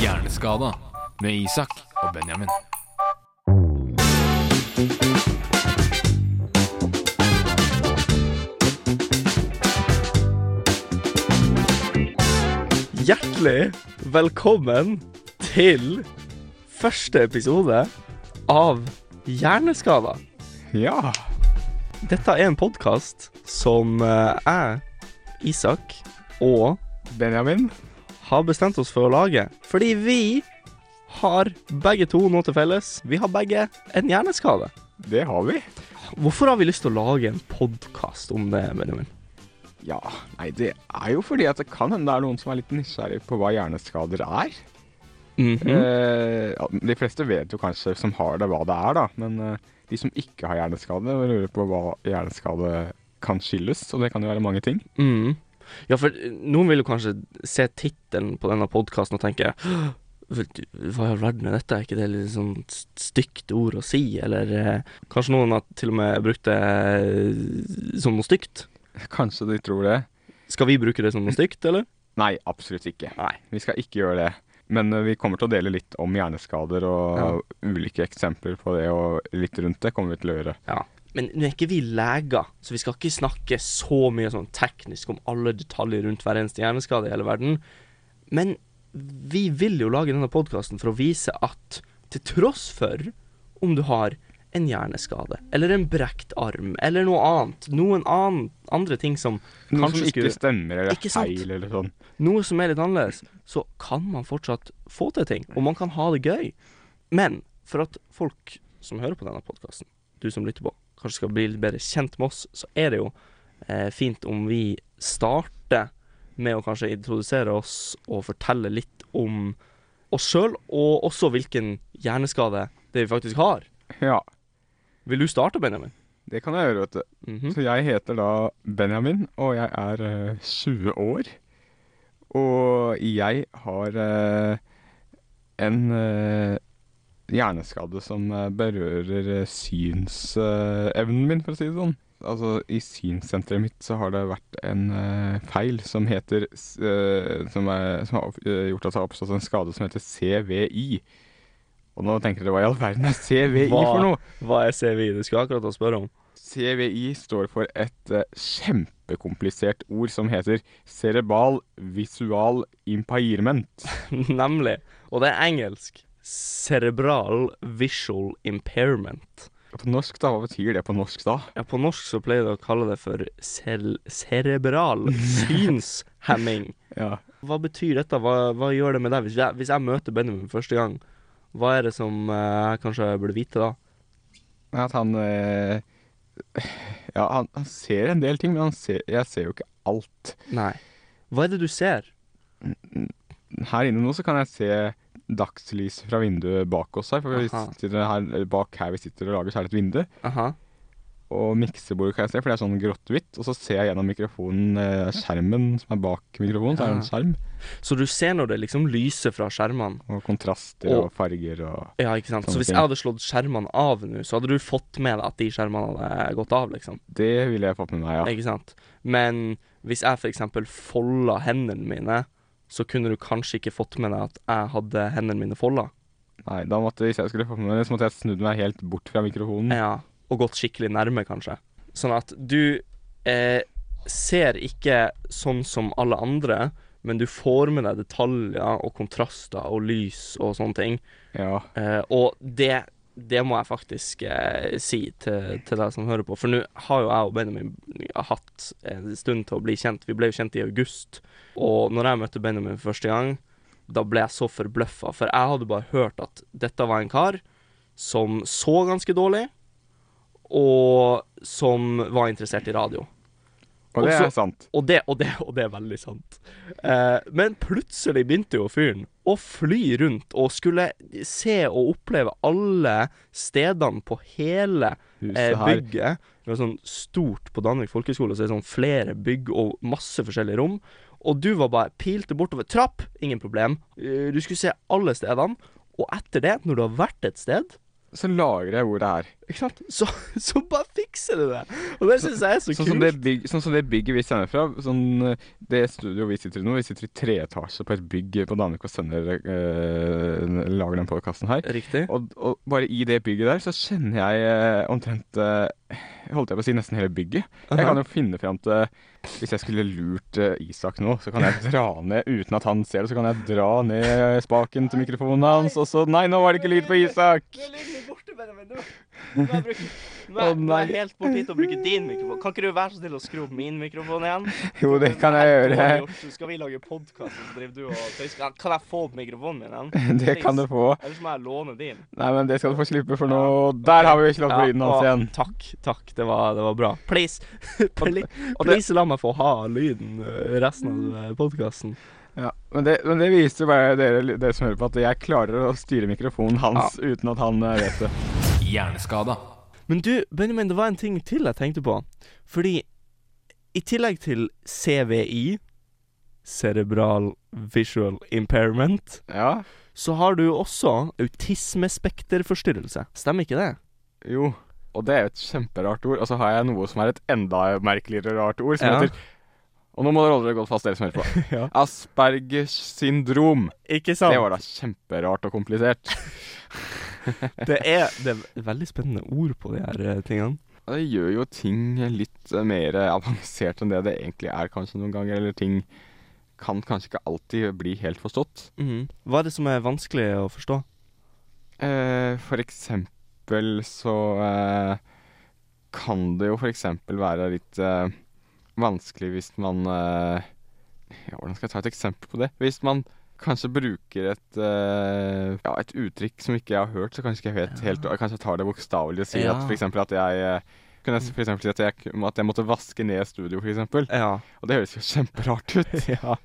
Hjerneskada med Isak og Benjamin. Hjertelig velkommen til første episode av Hjerneskada. Ja. Dette er en podkast som eh, jeg, Isak og Benjamin. har bestemt oss for å lage. Fordi vi har begge to noe til felles. Vi har begge en hjerneskade. Det har vi. Hvorfor har vi lyst til å lage en podkast om det, Benjamin? Ja, nei, det er jo fordi at det kan hende det er noen som er litt nysgjerrig på hva hjerneskader er. Eh, ja, de fleste vet jo kanskje som har det, hva det er, da. Men eh, de som ikke har hjerneskade, lurer på hva hjerneskade kan skyldes. Og det kan jo være mange ting. Mm. Ja, for noen vil jo kanskje se tittelen på denne podkasten og tenke «Hå, Hva i all verden er dette? Er ikke det litt sånn st- stygt ord å si? Eller eh, kanskje noen har til og med brukt det eh, som noe stygt? Kanskje de tror det. Skal vi bruke det som noe stygt, eller? Nei, absolutt ikke. Nei. Vi skal ikke gjøre det. Men eh, vi kommer til å dele litt om hjerneskader og ulike eksempler på det, og litt rundt det kommer vi til å gjøre. Ja. Men nå er ikke vi leger, så vi skal ikke snakke så mye sånn teknisk om alle detaljer rundt hver eneste hjerneskade i hele verden. Men vi vil jo lage denne podkasten for å vise at til tross for om du har en hjerneskade, eller en brekt arm, eller noe annet, noen annen, andre ting som Noe kanskje som ikke skulle stemmer eller Ikke er sant? feil eller sånn. noe som er litt annerledes, så kan man fortsatt få til ting, og man kan ha det gøy. Men for at folk som hører på denne podkasten, du som lytter på, kanskje skal bli litt bedre kjent med oss, så er det jo eh, fint om vi starter med å kanskje introdusere oss og fortelle litt om oss sjøl, og også hvilken hjerneskade det vi faktisk har. Ja. Vil du starte, Benjamin? Det kan jeg gjøre, vet du. Mhm. Så jeg heter da Benjamin, og jeg er eh, 20 år. Og jeg har eh, en eh, hjerneskade som eh, berører synsevnen min, for å si det sånn. Altså, i synssenteret mitt så har det vært en eh, feil som heter s- eh, som, er, som har opp- eh, gjort at det har oppstått en skade som heter CVI. Og nå tenker dere hva i all verden er CVI for noe? Hva er CVI? Det skulle jeg akkurat å spørre om. CVI står for et eh, kjempekomplisert ord som heter cerebral visual impairment. Nemlig. Og det er engelsk. Cerebral visual impairment. På norsk, da? Hva betyr det på norsk, da? Ja, på norsk så pleier de å kalle det for cel cerebral synshemming. Ja. Hva betyr dette? Hva, hva gjør det med deg? Hvis jeg, hvis jeg møter Benjamin første gang, hva er det som eh, jeg kanskje burde vite da? At han eh, Ja, han, han ser en del ting, men han ser, jeg ser jo ikke alt. Nei. Hva er det du ser? Her inne nå så kan jeg se dagslys fra vinduet bak oss her. For vi Aha. sitter her, eller bak her vi sitter og lager, så er det et vindu. Aha. Og miksebord kan jeg se, for det er sånn grått-hvitt. Og så ser jeg gjennom mikrofonen, eh, skjermen som er bak mikrofonen, så er det en skjerm. Så du ser når det liksom lyser fra skjermene? Og kontraster Og- og, farger og Ja, ikke sant? Så Sånne hvis ting. jeg hadde slått skjermene av nå, så hadde du fått med deg at de skjermene hadde gått av, liksom? Det ville jeg fått med meg, ja. Ikke sant? Men hvis jeg f.eks. folda hendene mine, så kunne du kanskje ikke fått med deg at jeg hadde hendene mine folda. Nei, da måtte, Hvis jeg skulle fått med meg det, så måtte jeg snudd meg helt bort fra mikrofonen. Ja, og gått skikkelig nærme, kanskje. Sånn at du eh, ser ikke sånn som alle andre, men du får med deg detaljer og kontraster og lys og sånne ting. Ja. Eh, og det, det må jeg faktisk eh, si til, til deg som hører på. For nå har jo jeg og Benjamin hatt en stund til å bli kjent. Vi ble jo kjent i august. Og når jeg møtte Benjamin for første gang, da ble jeg så forbløffa. For jeg hadde bare hørt at dette var en kar som så ganske dårlig, og som var interessert i radio. Og det Også- er sant. Og det, og det, og det er veldig sant. Eh, men plutselig begynte jo fyren å fly rundt og skulle se og oppleve alle stedene på hele Huset eh, her. bygget. Det var sånn stort på Danvik folkehøgskole, så er det sånn flere bygg og masse forskjellige rom. Og du var bare pilte bortover. Trapp, ingen problem. Eh, Du skulle se alle stedene. Og etter det, når du har vært et sted, så lagrer jeg hvor det er. Ikke sant? Så, så bare fikser du det! Og det syns jeg er så, Sånn kult. som, det bygg, sånn som det bygget vi sender fra. Sånn, eh, det studioet vi sitter i nå, vi sitter i treetasje på et bygg på Danvik og sender, eh, lager den podkasten her. Riktig. Og, og bare i det bygget der så kjenner jeg eh, omtrent eh, Holdt jeg på å si nesten hele bygget. Jeg kan jo finne fram til Hvis jeg skulle lurt eh, Isak nå, så kan jeg dra ned uten at han ser det. Så kan jeg dra ned spaken til mikrofonen hans, og så Nei, nå var det ikke lyd på Isak! Nå ligger du borte, Benjamin. Nå, nå, er jeg bruker, nå, Å, er, nå er nei. jeg helt borte hit og bruker din mikrofon. Kan ikke du være så snill å skru opp min mikrofon igjen? Jo, det kan jeg Dårlig gjøre. gjort. Så skal vi lage podkast, så driver du og tøysker. Kan jeg få opp mikrofonen min igjen? Det kan du få. Ellers må jeg låne din. Nei, men det skal du få slippe for nå. Der har vi slått på lyden hans igjen. takk, takk. Det var, det var bra. Please. Please, og det- please la meg få ha lyden eh, resten av podkasten. Ja, men det, men det viser jo bare dere, dere som hører på, at jeg klarer å styre mikrofonen hans uten at han eh, vet det. Hjerneskada. Men du, Benjamin, det var en ting til jeg tenkte på. Fordi i tillegg til CVI, Cerebral Visual Impairment, Ja, så har du jo også autismespekterforstyrrelse. Stemmer ikke det? jo. Og det er jo et kjemperart ord. Og så har jeg noe som er et enda merkeligere rart ord, som Ja. heter Og nå må dere holde dere godt fast, dere som hører på. Ja. Aspergers syndrom. Ikke sant? Det var da kjemperart og komplisert. det, er, det er veldig spennende ord på de her eh, tingene. Og Det gjør jo ting litt eh, mer avansert enn det det egentlig er kanskje noen ganger. Eller ting kan kanskje ikke alltid bli helt forstått. Hva er det som er vanskelig å forstå? Eh, for eksempel så eh, kan det jo for eksempel være litt eh, vanskelig hvis man eh, Ja, hvordan skal jeg ta et eksempel på det? Hvis man kanskje bruker et, eh, ja, et uttrykk som ikke jeg har hørt, så kanskje ikke jeg vet helt Kanskje jeg tar det bokstavelig og sier Ja. at for eksempel at jeg eh, kunne jeg for eksempel si at jeg, k- at jeg måtte vaske ned studio, for eksempel. Ja. Og det høres jo kjemperart ut. ja.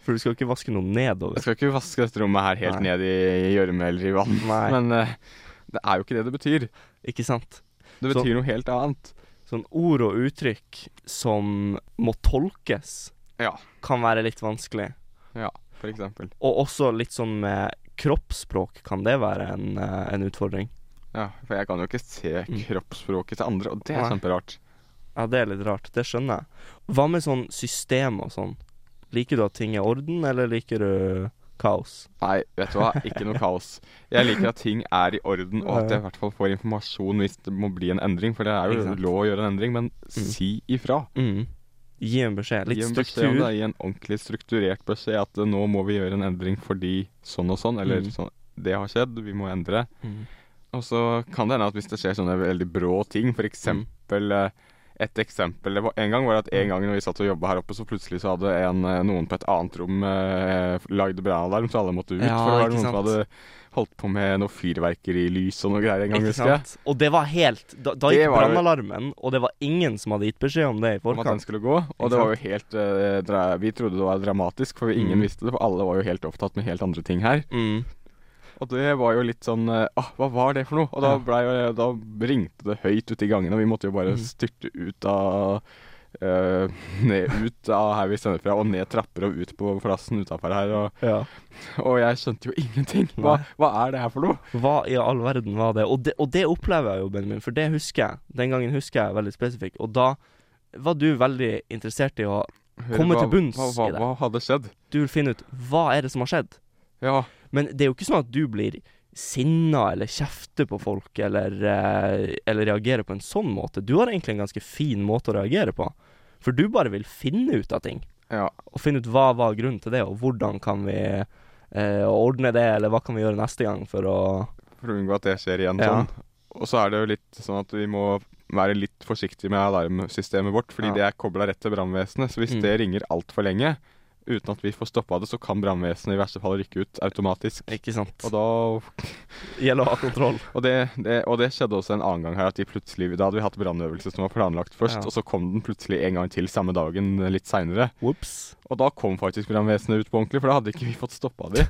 For du skal ikke vaske noe Jeg nedover. skal ikke vaske dette rommet her helt Nei. ned i gjørme eller i vann, Nei. men eh, det er jo ikke det det betyr. Ikke sant? Det Så- betyr noe helt annet. sånn ord og uttrykk som må tolkes, Ja. kan være litt vanskelig. Ja, for eksempel. Og også litt sånn med kroppsspråk kan det være en, eh, en utfordring. Ja, for jeg kan jo ikke se Mm. kroppsspråket til andre, og det er Nei. kjemperart. Ja, det er litt rart. Det skjønner jeg. Hva med sånn system og sånn? Liker du at ting er orden, eller liker du kaos? Nei, vet du hva, ikke noe kaos. Jeg liker at ting er i orden, og at jeg i hvert fall får informasjon hvis det må bli en endring, for det er Ikke jo sant. lov å gjøre en endring, men si ifra. Mm. Gi en beskjed. Litt Gi en beskjed om struktur. det, Gi en ordentlig strukturert beskjed at eh, nå må vi gjøre en endring fordi sånn og sånn, eller Mm. sånn. Det har skjedd, vi må endre. Mm. Og så kan det hende at hvis det skjer sånne veldig brå ting, for eksempel eh, Et eksempel det var, En gang var det at en gang når vi satt og jobba her oppe, så plutselig så hadde en, eh, noen på et annet rom eh, lagd brannalarm, så alle måtte ut. Ja, for det var ikke noen som sant. hadde holdt på med noe fyrverkerilys og noe greier en gang, Ikke husker jeg. sant? Og det var helt Da, da Det gikk var jo- brannalarmen, og det var ingen som hadde gitt beskjed om det i Om at den forkant. skulle gå. Ikke Og det var jo helt eh, dra, Vi trodde det var dramatisk, for ingen Mm. visste det. For alle var jo helt opptatt med helt andre ting her. Mm. Og det var jo litt sånn eh, ah, Hva var det for noe? Og da, Ja. ble, jo- da ringte det høyt ute i gangen, og vi måtte jo bare Mhm. styrte ut av eh, ned ut av her vi sender fra, og ned trapper og ut på plassen utafor her. Og, Ja. og jeg skjønte jo ingenting. Hva, Nei. hva er det her for noe? Hva i all verden var det? Og det, og det opplever jeg jo, Benjamin, for det husker jeg. Den gangen husker jeg veldig spesifikt. Og da var du veldig interessert i å Komme hva, til bunns hva, hva, i det. hva hadde skjedd? Du vil finne ut hva er det som har skjedd. Ja, Men det er jo ikke sånn at du blir sinna eller kjefter på folk eller, eh, eller reagerer på en sånn måte. Du har egentlig en ganske fin måte å reagere på. For du bare vil finne ut av ting. ja. Og finne ut hva var grunnen til det, og hvordan kan vi eh, ordne det, eller hva kan vi gjøre neste gang for å For å unngå at det skjer igjen Ja. sånn. Og så er det jo litt sånn at vi må være litt forsiktige med alarmsystemet vårt, fordi Ja. det er kobla rett til brannvesenet. Så hvis Mm. det ringer altfor lenge uten at vi får stoppa det, så kan brannvesenet i verste fall rykke ut automatisk. Ikke sant. Og, da, Gjelder å ha kontroll. og, det, det, og det skjedde også en annen gang her, at de plutselig, da hadde vi hatt brannøvelse som var planlagt først, Ja. og så kom den plutselig en gang til samme dagen eh, litt seinere. Ops. Og da kom faktisk brannvesenet ut på ordentlig, for da hadde ikke vi fått stoppa de.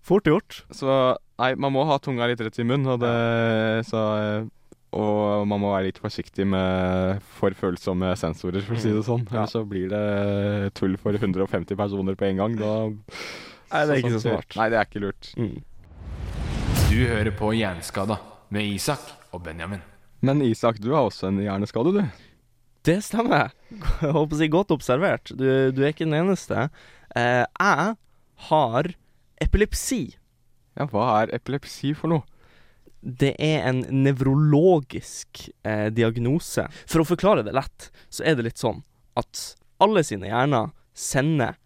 Fort gjort. Så nei, man må ha tunga litt rett i munnen, og det så eh, Og man må være litt forsiktig med for følsomme sensorer, for å si det sånn. Ja. Ellers så blir det tull for 150 personer på en gang. Da Nei, det er ikke så sånn skjer. smart. Nei, det er ikke lurt. Mm. Du hører på Jernskada med Isak og Benjamin. Men Isak, du har også en hjerneskade, du. Det stemmer. Jeg håper å si godt observert. Du, du er ikke den eneste. Eh, jeg har epilepsi. Ja, hva er epilepsi for noe? Det er en nevrologisk eh, diagnose. For å forklare det lett, så er det litt sånn at alle sine hjerner sender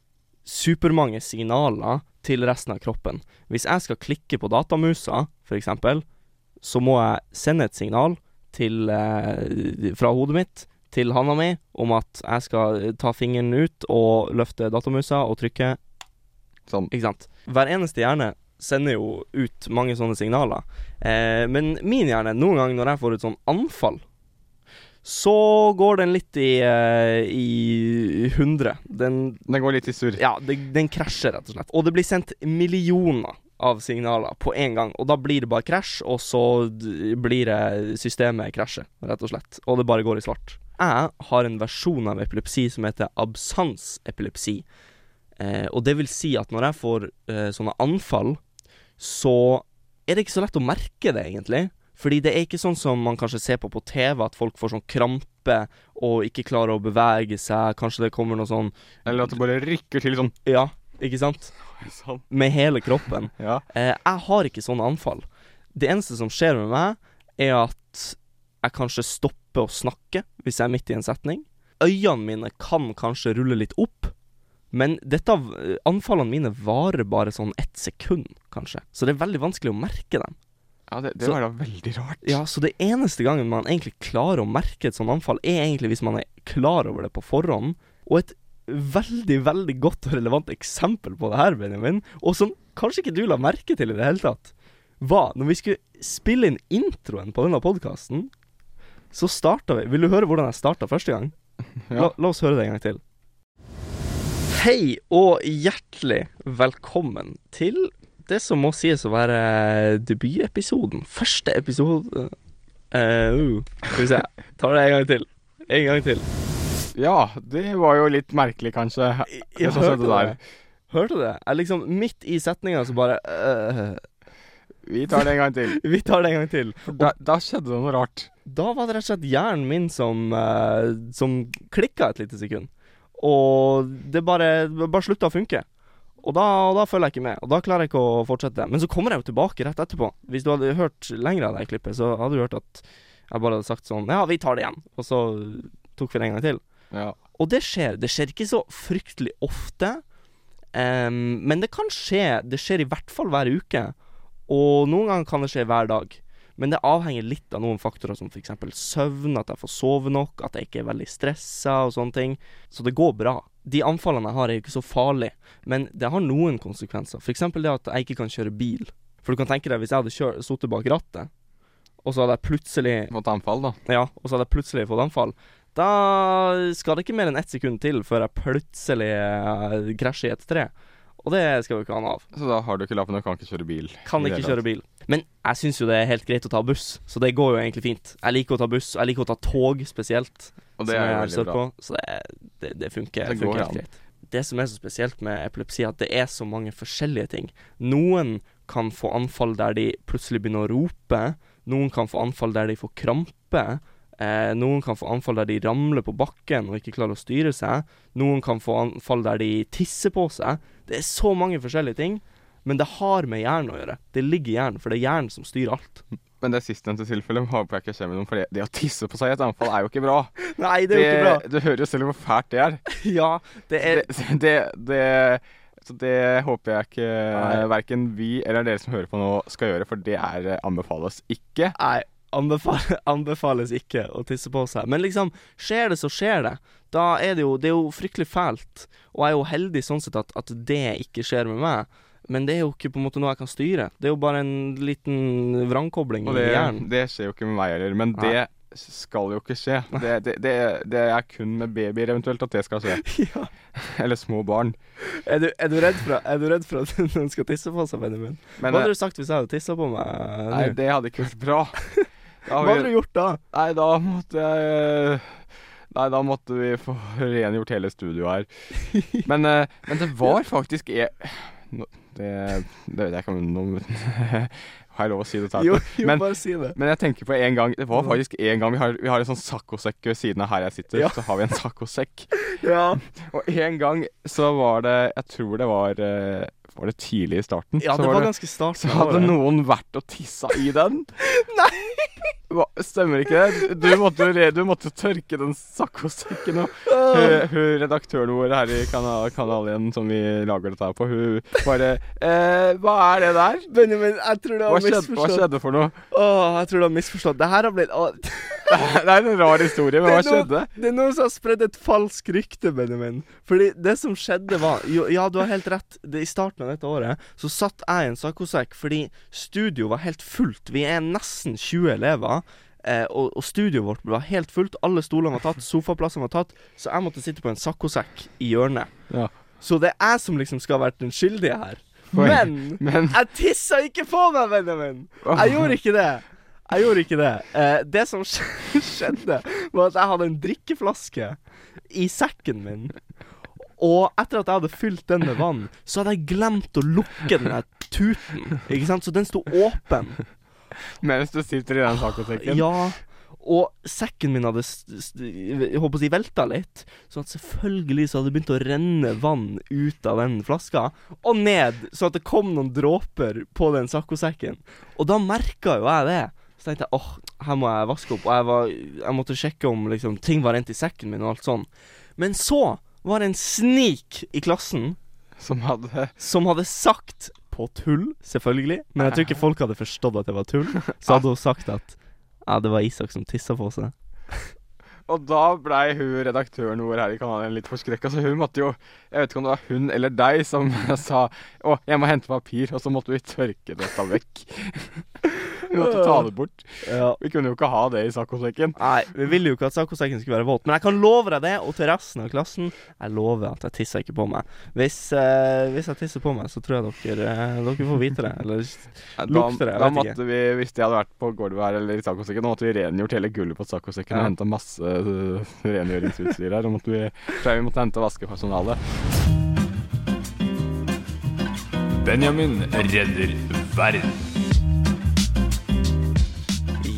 supermange signaler til resten av kroppen. Hvis jeg skal klikke på datamusa, for eksempel, så må jeg sende et signal til, eh, fra hodet mitt til handa mi om at jeg skal eh, ta fingeren ut og løfte datamusa og trykke Sånn. ikke sant? Hver eneste hjerne sender jo ut mange sånne signaler. Eh, men min hjerne, noen ganger når jeg får et sånn anfall, så går den litt i, eh, i hundre. Den, Den går litt i surr. ja, den, den krasjer, rett og slett. Og det blir sendt millioner av signaler på en gang, og da blir det bare krasj, og så d- blir det systemet krasjer, rett og slett. Og det bare går i svart. Jeg har en versjon av epilepsi som heter absansepilepsi. Eh, og det vil si at når jeg får eh, sånne anfall, så er det ikke så lett å merke det, egentlig. Fordi det er ikke sånn som man kanskje ser på på TV, at folk får sånn krampe og ikke klarer å bevege seg. Kanskje det kommer noe sånn Eller at det bare rykker til sånn. Ja, ikke sant? Sånn. med hele kroppen. Ja. Eh, jeg har ikke sånne anfall. Det eneste som skjer med meg, er at jeg kanskje stopper å snakke hvis jeg er midt i en setning. Øynene mine kan kanskje rulle litt opp, men dette, v- anfallene mine varer bare sånn ett sekund, kanskje. Så det er veldig vanskelig å merke dem. Ja, det, det Så- var da veldig rart. Ja, Så det eneste gangen man egentlig klarer å merke et sånt anfall, er egentlig hvis man er klar over det på forhånd. Og et veldig, veldig godt og relevant eksempel på det her, Benjamin, og som kanskje ikke du la merke til i det hele tatt, var når vi skulle spille inn introen på denne podkasten, så starta vi Vil du høre hvordan jeg starta første gang? Ja. La, la oss høre det en gang til. Hei og hjertelig velkommen til det som må sies å være debutepisoden. Første episode Eh, uh, Skal vi se. Tar det en gang til. En gang til. ja, det var jo litt merkelig, kanskje. Ja, det som skjedde hørte du der. det? Hørte du det? Jeg liksom midt i setninga så bare eh, Vi tar det en gang til. Vi tar det en gang til. For da, da skjedde det noe rart. Da var det rett og slett hjernen min som, uh, som klikka et lite sekund. Og det bare, det bare slutta å funke. Og da, og da følger jeg ikke med, og da klarer jeg ikke å fortsette. Men så kommer jeg jo tilbake rett etterpå. Hvis du hadde hørt lenger av det klippet, så hadde du hørt at jeg bare hadde sagt sånn Ja, vi tar det igjen. Og så tok vi det en gang til. Ja. Og det skjer. Det skjer ikke så fryktelig ofte. Ehm, men det kan skje. Det skjer i hvert fall hver uke. Og noen ganger kan det skje hver dag. Men det avhenger litt av noen faktorer, som f.eks. søvn, at jeg får sove nok, at jeg ikke er veldig stressa og sånne ting. Så det går bra. De anfallene jeg har, er jo ikke så farlige, men det har noen konsekvenser. F.eks. det at jeg ikke kan kjøre bil. For du kan tenke deg, hvis jeg hadde kjør- sittet bak rattet, og så hadde jeg plutselig Måtte anfall, da. ja, og så hadde jeg plutselig fått anfall. Da skal det ikke mer enn ett sekund til før jeg plutselig eh, krasjer i et tre. Og det skal vi ikke ha noe av. Så da har du ikke lappen og kan ikke kjøre bil. Kan ikke kjøre bil. Men jeg syns jo det er helt greit å ta buss, så det går jo egentlig fint. Jeg liker å ta buss, jeg liker å ta tog spesielt. Og det som er jo jeg veldig sørpå, bra. Så det, det, det funker, Det funker går helt an. greit. Det som er så spesielt med epilepsi, er at det er så mange forskjellige ting. Noen kan få anfall der de plutselig begynner å rope. Noen kan få anfall der de får krampe. Eh, noen kan få anfall der de ramler på bakken og ikke klarer å styre seg. Noen kan få anfall der de tisser på seg. Det er så mange forskjellige ting. Men det har med hjernen å gjøre. Det ligger i hjernen, for det er hjernen som styrer alt. Men det sistnevnte tilfellet håper jeg ikke skjer med noen, for det- det å tisse på seg i et anfall er jo ikke bra. Nei, det er jo ikke bra. Eh. Du hører jo selv hvor fælt det er. Ja, det er Det, det, det, så det håper jeg ikke Nei. verken vi eller dere som hører på nå, skal gjøre, for det er eh, anbefales ikke. Nei, anbefales, anbefales ikke å tisse på seg. Men liksom, skjer det, så skjer det. Da er det jo Det er jo fryktelig fælt. Og jeg er jo heldig sånn sett at, at det ikke skjer med meg. Men det er jo ikke på en måte noe jeg kan styre. Det er jo bare en liten vrangkobling Og i det, hjernen. det skjer jo ikke med meg heller, men Nei. det skal jo ikke skje. Det, det, det, det er kun med babyer eventuelt at det skal skje. Ja. Eller små barn. Er, du, er, du redd for, at- er du redd for at noen skal tisse på seg, Benjamin? Men Hva hadde eh, du sagt hvis jeg hadde tissa på meg? eh, nei, nå? det hadde ikke vært bra. Da Hva hadde hadde vi, du gjort da? nei, da måtte jeg Nei, da måtte vi få rengjort hele studioet her. Men, eh, men det var faktisk e- nå- det, det vet jeg ikke om nå Har jeg lov å si dette? her? Jo, jo Men- bare si det. Men jeg tenker på en gang Det var faktisk en gang vi har, vi har en sånn saccosekk ved siden av her jeg sitter. Ja. Så har vi en saccosekk. Ja, Og en gang så var det Jeg tror det var eh, Var det tidlig i starten? ja så det var det, ganske starten. så av hadde året. noen vært og tissa i den. Hva, stemmer ikke det? Du måtte, jo re- du måtte tørke den saccosekken. Og Ah. hun, hun redaktøren vår her i Kanal, kanal 1 som vi lager dette her på, hun bare eh, Hva er det der? Benjamin, jeg tror du Hva har skjedde, hva misforstått. skjedde for noe? Åh, jeg tror du har misforstått. Det her har blitt Åh, Det er en rar historie, men hva Det er noe- skjedde? Det er noen som har spredd et falskt rykte, Benjamin. Fordi det som skjedde, var jo, Ja, du har helt rett. Det, I starten av dette året så satt jeg i en saccosekk fordi studio var helt fullt. Vi er nesten 20 elever. Eh, og, og studioet vårt var helt fullt. Alle stolene var tatt, sofaplassene var tatt. Så jeg måtte sitte på en saccosekk i hjørnet. Ja. Så det er jeg som liksom skal ha vært den skyldige her. Oi, Men, men- jeg tissa ikke på meg, Benjamin! Jeg gjorde ikke det. Jeg gjorde ikke det. Eh, det som skj- skjedde, var at jeg hadde en drikkeflaske i sekken min. Og etter at jeg hadde fylt den med vann, så hadde jeg glemt å lukke den der tuten. Ikke sant? Så den sto åpen. Mens du sitter i den tacosekken? Ja, og sekken min hadde s- s- jeg håper å si, velta litt. Så at selvfølgelig så hadde det begynt å renne vann ut av den flaska, og ned, så at det kom noen dråper på den saccosekken. Og da merka jo jeg det. Så tenkte jeg åh, her må jeg vaske opp. Og jeg, var, jeg måtte sjekke om liksom, ting var rent i sekken min og alt sånn. Men så var det en snik i klassen Som hadde som hadde sagt på tull, selvfølgelig, men jeg tror ikke folk hadde forstått at det var tull, så hadde hun sagt at ja, det var Isak som tissa på seg. Og da blei hun redaktøren vår her i kanalen litt forskrekka, så hun måtte jo Jeg vet ikke om det var hun eller deg som sa 'Å, jeg må hente papir', og så måtte vi tørke dette vekk. vi måtte ta det bort. Ja. Vi kunne jo ikke ha det i saccosekken. Nei, vi ville jo ikke at saccosekken skulle være våt, men jeg kan love deg det, og til resten av klassen, jeg lover at jeg tisser ikke på meg. Hvis, eh, hvis jeg tisser på meg, så tror jeg dere, eh, dere får vite det. Eller Da, Lukter det, jeg da vet ikke. måtte vi, hvis jeg hadde vært på gulvet her eller i saccosekken, da måtte vi rengjort hele gulvet på saccosekken Ja. og henta masse øh, rengjøringsutstyr her. Og måtte vi, tror jeg vi måtte hente vaskepersonalet. Benjamin redder verden.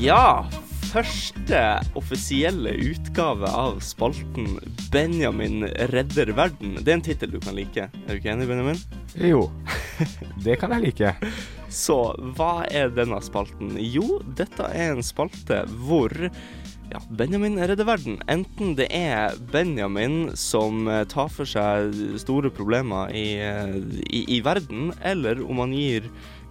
Ja, første offisielle utgave av spalten 'Benjamin redder verden'. Det er en tittel du kan like. Er du ikke enig, Benjamin? Jo, det kan jeg like. Så hva er denne spalten? Jo, dette er en spalte hvor ja, Benjamin redder verden. Enten det er Benjamin som eh, tar for seg store problemer i, eh, i, i verden, eller om han gir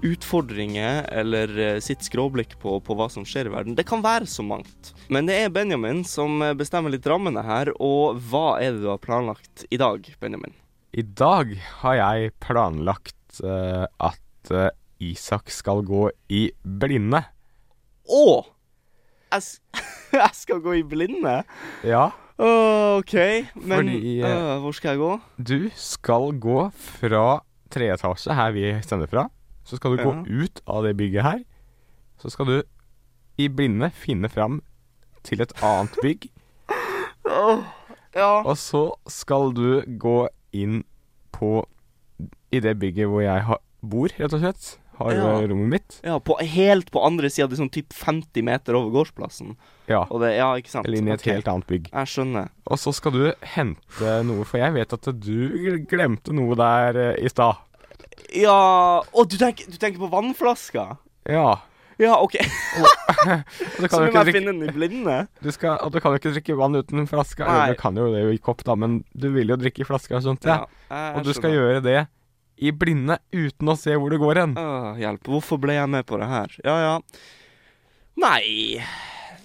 utfordringer eller eh, sitt skråblikk på, på hva som skjer i verden. Det kan være så mangt. Men det er Benjamin som eh, bestemmer litt rammene her, og hva er det du har planlagt i dag, Benjamin? I dag har jeg planlagt eh, at eh, Isak skal gå i blinde. Å! Jeg, s- jeg skal gå i blinde! Ja. Åh, OK, men Fordi, eh, øh, hvor skal jeg gå? Du skal gå fra tredje etasje, her vi sender fra. Så skal du gå ut av det bygget her. Så skal du i blinde finne fram til et annet bygg. Ja. Og så skal du gå inn på I det bygget hvor jeg har, bor, rett og slett. Har Ja. eh, rommet mitt. ja på, helt på andre sida, det er sånn typ 50 meter over gårdsplassen. Ja. Og det, ja, ikke sant? Eller inn i et Ok, helt annet bygg. Jeg skjønner. Og så skal du hente noe, for jeg vet at du glemte noe der eh, i stad. Ja Å, du, tenker- du tenker på vannflaska? Ja. Ja, OK. Og du Så må kan, jo ikke jeg drikke, finne den i blinde? du skal, og du kan jo ikke drikke vann uten flaske. Nei. Eller du kan jo det i kopp, da, men du vil jo drikke i flaske og sånt. Ja. jeg- Og jeg du skal skjønner. gjøre det i blinde uten å se hvor du går hen. Åh, hjelp. Hvorfor ble jeg med på det her? Ja, ja. Nei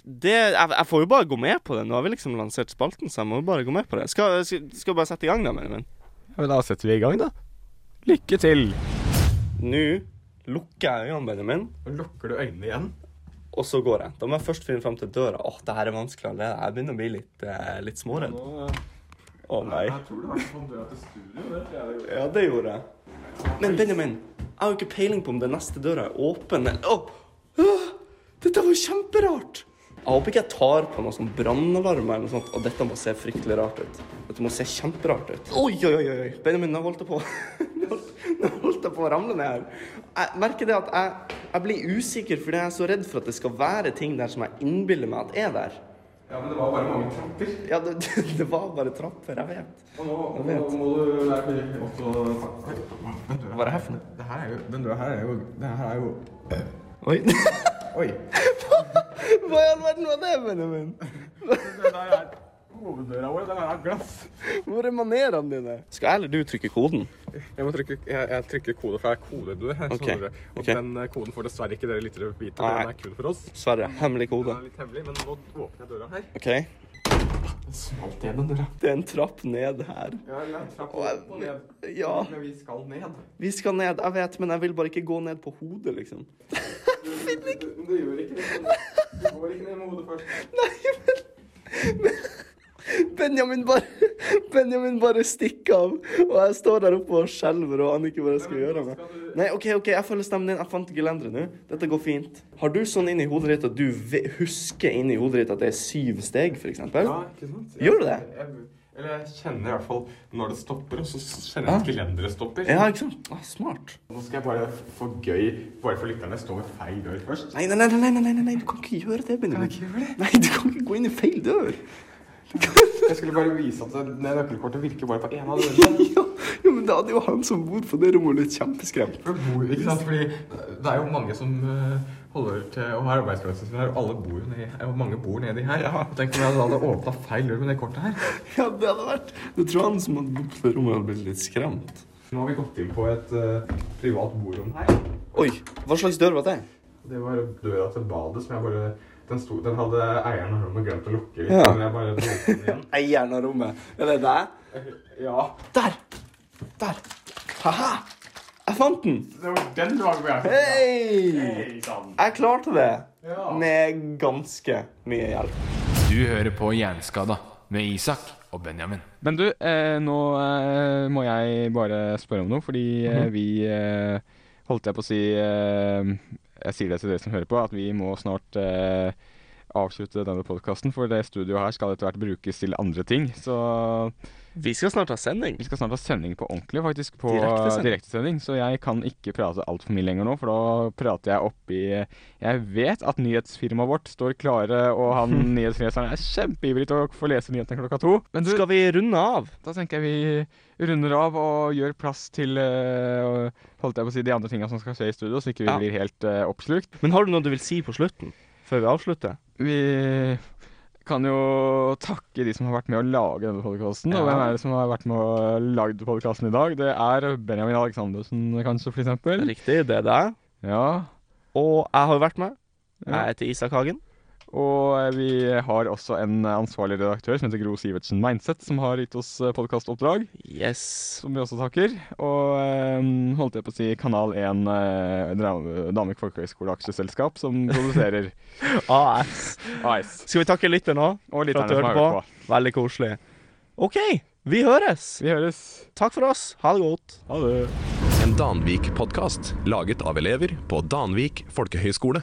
det, jeg, jeg får jo bare gå med på det. Nå har vi liksom lansert spalten, så jeg må jo bare gå med på det. Skal, skal, skal jeg bare sette i gang, da, Benjamin? Ja, men da setter vi i gang, da. Lykke til. Nå lukker jeg øynene, Benjamin, Lukker du øynene igjen? og så går jeg. Da må jeg først finne fram til døra. Åh, det her er vanskelig allerede. Jeg begynner å bli litt, eh, litt småredd. Å nei. tror du har fått døra til studio. Det tror jeg Ja, det gjorde jeg. Men Benjamin, jeg har jo ikke peiling på om den neste døra er åpen. eller- Åh! Åh! Dette var jo kjemperart! Jeg håper ikke jeg tar på noe sånn brannalarm eller noe sånt, og dette må se fryktelig rart ut. Dette må se kjemperart ut. Oi, oi, oi, oi. Benjamin, nå holdt det på. Nå holdt- Nå holdt jeg på å ramle ned her. Jeg merker det at jeg, jeg blir usikker fordi jeg er så redd for at det skal være ting der som jeg innbiller meg at er der. Ja, men det var bare mange trapper. Ja, det, det var bare trapper, jeg vet. Og nå, Jeg vet. må du lære meg også Den døra Hva er det her for noe? det her er jo Den døra her er jo Den her er jo Oi. Oi. Hva i all verden var det, Benjamin? Den der er hoveddøra vår. Den her er glass. Hvor er manerene dine? Skal jeg eller du trykke koden? Jeg må trykke jeg, jeg trykker kode, for det er kodedør her. Ok, skjønner dere. Og ok. den eh, koden får dessverre ikke dere lyttere vite, Nei. for den er kun for oss. Sverre, hemmelig Den kode. er litt hemmelig, men nå åpner jeg døra her. OK. Det Den smalt igjen, den døra. er en trapp ned her. Ja, jeg la trapp Og jeg- opp og ned. Ja. Men vi skal ned. Vi skal ned, jeg vet, men jeg vil bare ikke gå ned på hodet, liksom. Du, du, du, du gjør ikke det. Du går ikke ned med hodet først. Benjamin bare, Benjamin bare stikker av, og jeg står der oppe og skjelver og aner ikke hva jeg skal gjøre. Med. Nei, OK, ok, jeg følger stemmen din. Jeg fant gelenderet nå. Dette går fint. Har du sånn inni hodet ditt at du ve- husker inni hodet ditt at det er syv steg, f.eks.? Ja, ikke sant? Gjør du det? Jeg, eller jeg kjenner i hvert fall når det stopper, og så kjenner jeg at gelenderet stopper. Ja, ikke sant? Ah, smart. Nå skal jeg bare for gøy, bare for lytterne, stå ved feil dør først. Nei, nei, nei, nei, nei, nei, nei, nei, du kan ikke gjøre det, Benjamin. Kan jeg ikke gjøre det? Nei, du kan ikke gå inn i feil dør. Jeg skulle bare vise at det- nøkkelkortet virker bare på en av dørene. Ja, jo, men da hadde jo han som bor på det rommet blitt kjempeskremt. For det bor, ikke sant? Fordi det er jo mange som eh, holder til å ha arbeidsplassen sin her, og alle bor jo nedi, og mange bor nedi her. Tenk om jeg hadde åpna feil dør med det kortet her. Ja, det hadde vært Du tror han som hadde bodd på det rommet, hadde blitt litt skremt? Nå har vi gått inn på et eh, privat borom her. Oi, hva slags dør var det? Det var døra til badet som jeg bare Den, sto, den hadde eieren av rommet glemt å lukke litt, Ja. men jeg bare låste den igjen. Eieren av rommet. Er det deg? Ja, Der! Der. Haha! Jeg fant den! det var den dagen hvor jeg Hei! Hei, sann. Jeg klarte det. Ja. Med ganske mye hjelp. Du hører på Hjerneskada med Isak og Benjamin. Men du, eh, nå eh, må jeg bare spørre om noe, fordi eh, vi eh, Holdt jeg på å si eh, Jeg sier det til dere som hører på, at vi må snart eh, avslutte denne podkasten, for det studioet her skal etter hvert brukes til andre ting. Så Vi skal snart ha sending. vi skal snart ha sending på ordentlig, faktisk. På Direktesending. direktesending. Så jeg kan ikke prate altfor mye lenger nå, for da prater jeg oppi Jeg vet at nyhetsfirmaet vårt står klare, og han nyhetsleseren er kjempeivrig til å få lese nyhetene klokka to. Men du, Skal vi runde av? da tenker jeg vi runder av og gjør plass til eh, holdt jeg på å si, de andre tinga som skal skje i studio, så ikke vi Ja. blir helt eh, oppslukt. Men har du noe du vil si på slutten? Før vi avslutter? Vi kan jo takke de som har vært med å lage denne podkasten. Og Ja. hvem er det som har vært med å lage podkasten i dag? Det er Benjamin Aleksandersen, kanskje, for eksempel. Riktig, det er deg. Ja. Og jeg har jo vært med. Ja. Jeg heter Isak Hagen. Og eh, vi har også en ansvarlig redaktør som heter Gro Sivertsen Meinseth, som har gitt oss eh, podkastoppdrag. Yes. Som vi også takker. Og eh, holdt jeg på å si Kanal 1 eh, Dra- Danvik Folkehøgskole Aksjeselskap, som produserer AS. Ice. Skal vi takke lytteren òg? Og for at lytterne du som har hørte hørt på. på. Veldig koselig. OK, vi høres. Vi høres. Takk for oss. Ha det godt. Ha det. En Danvik-podkast laget av elever på Danvik folkehøgskole.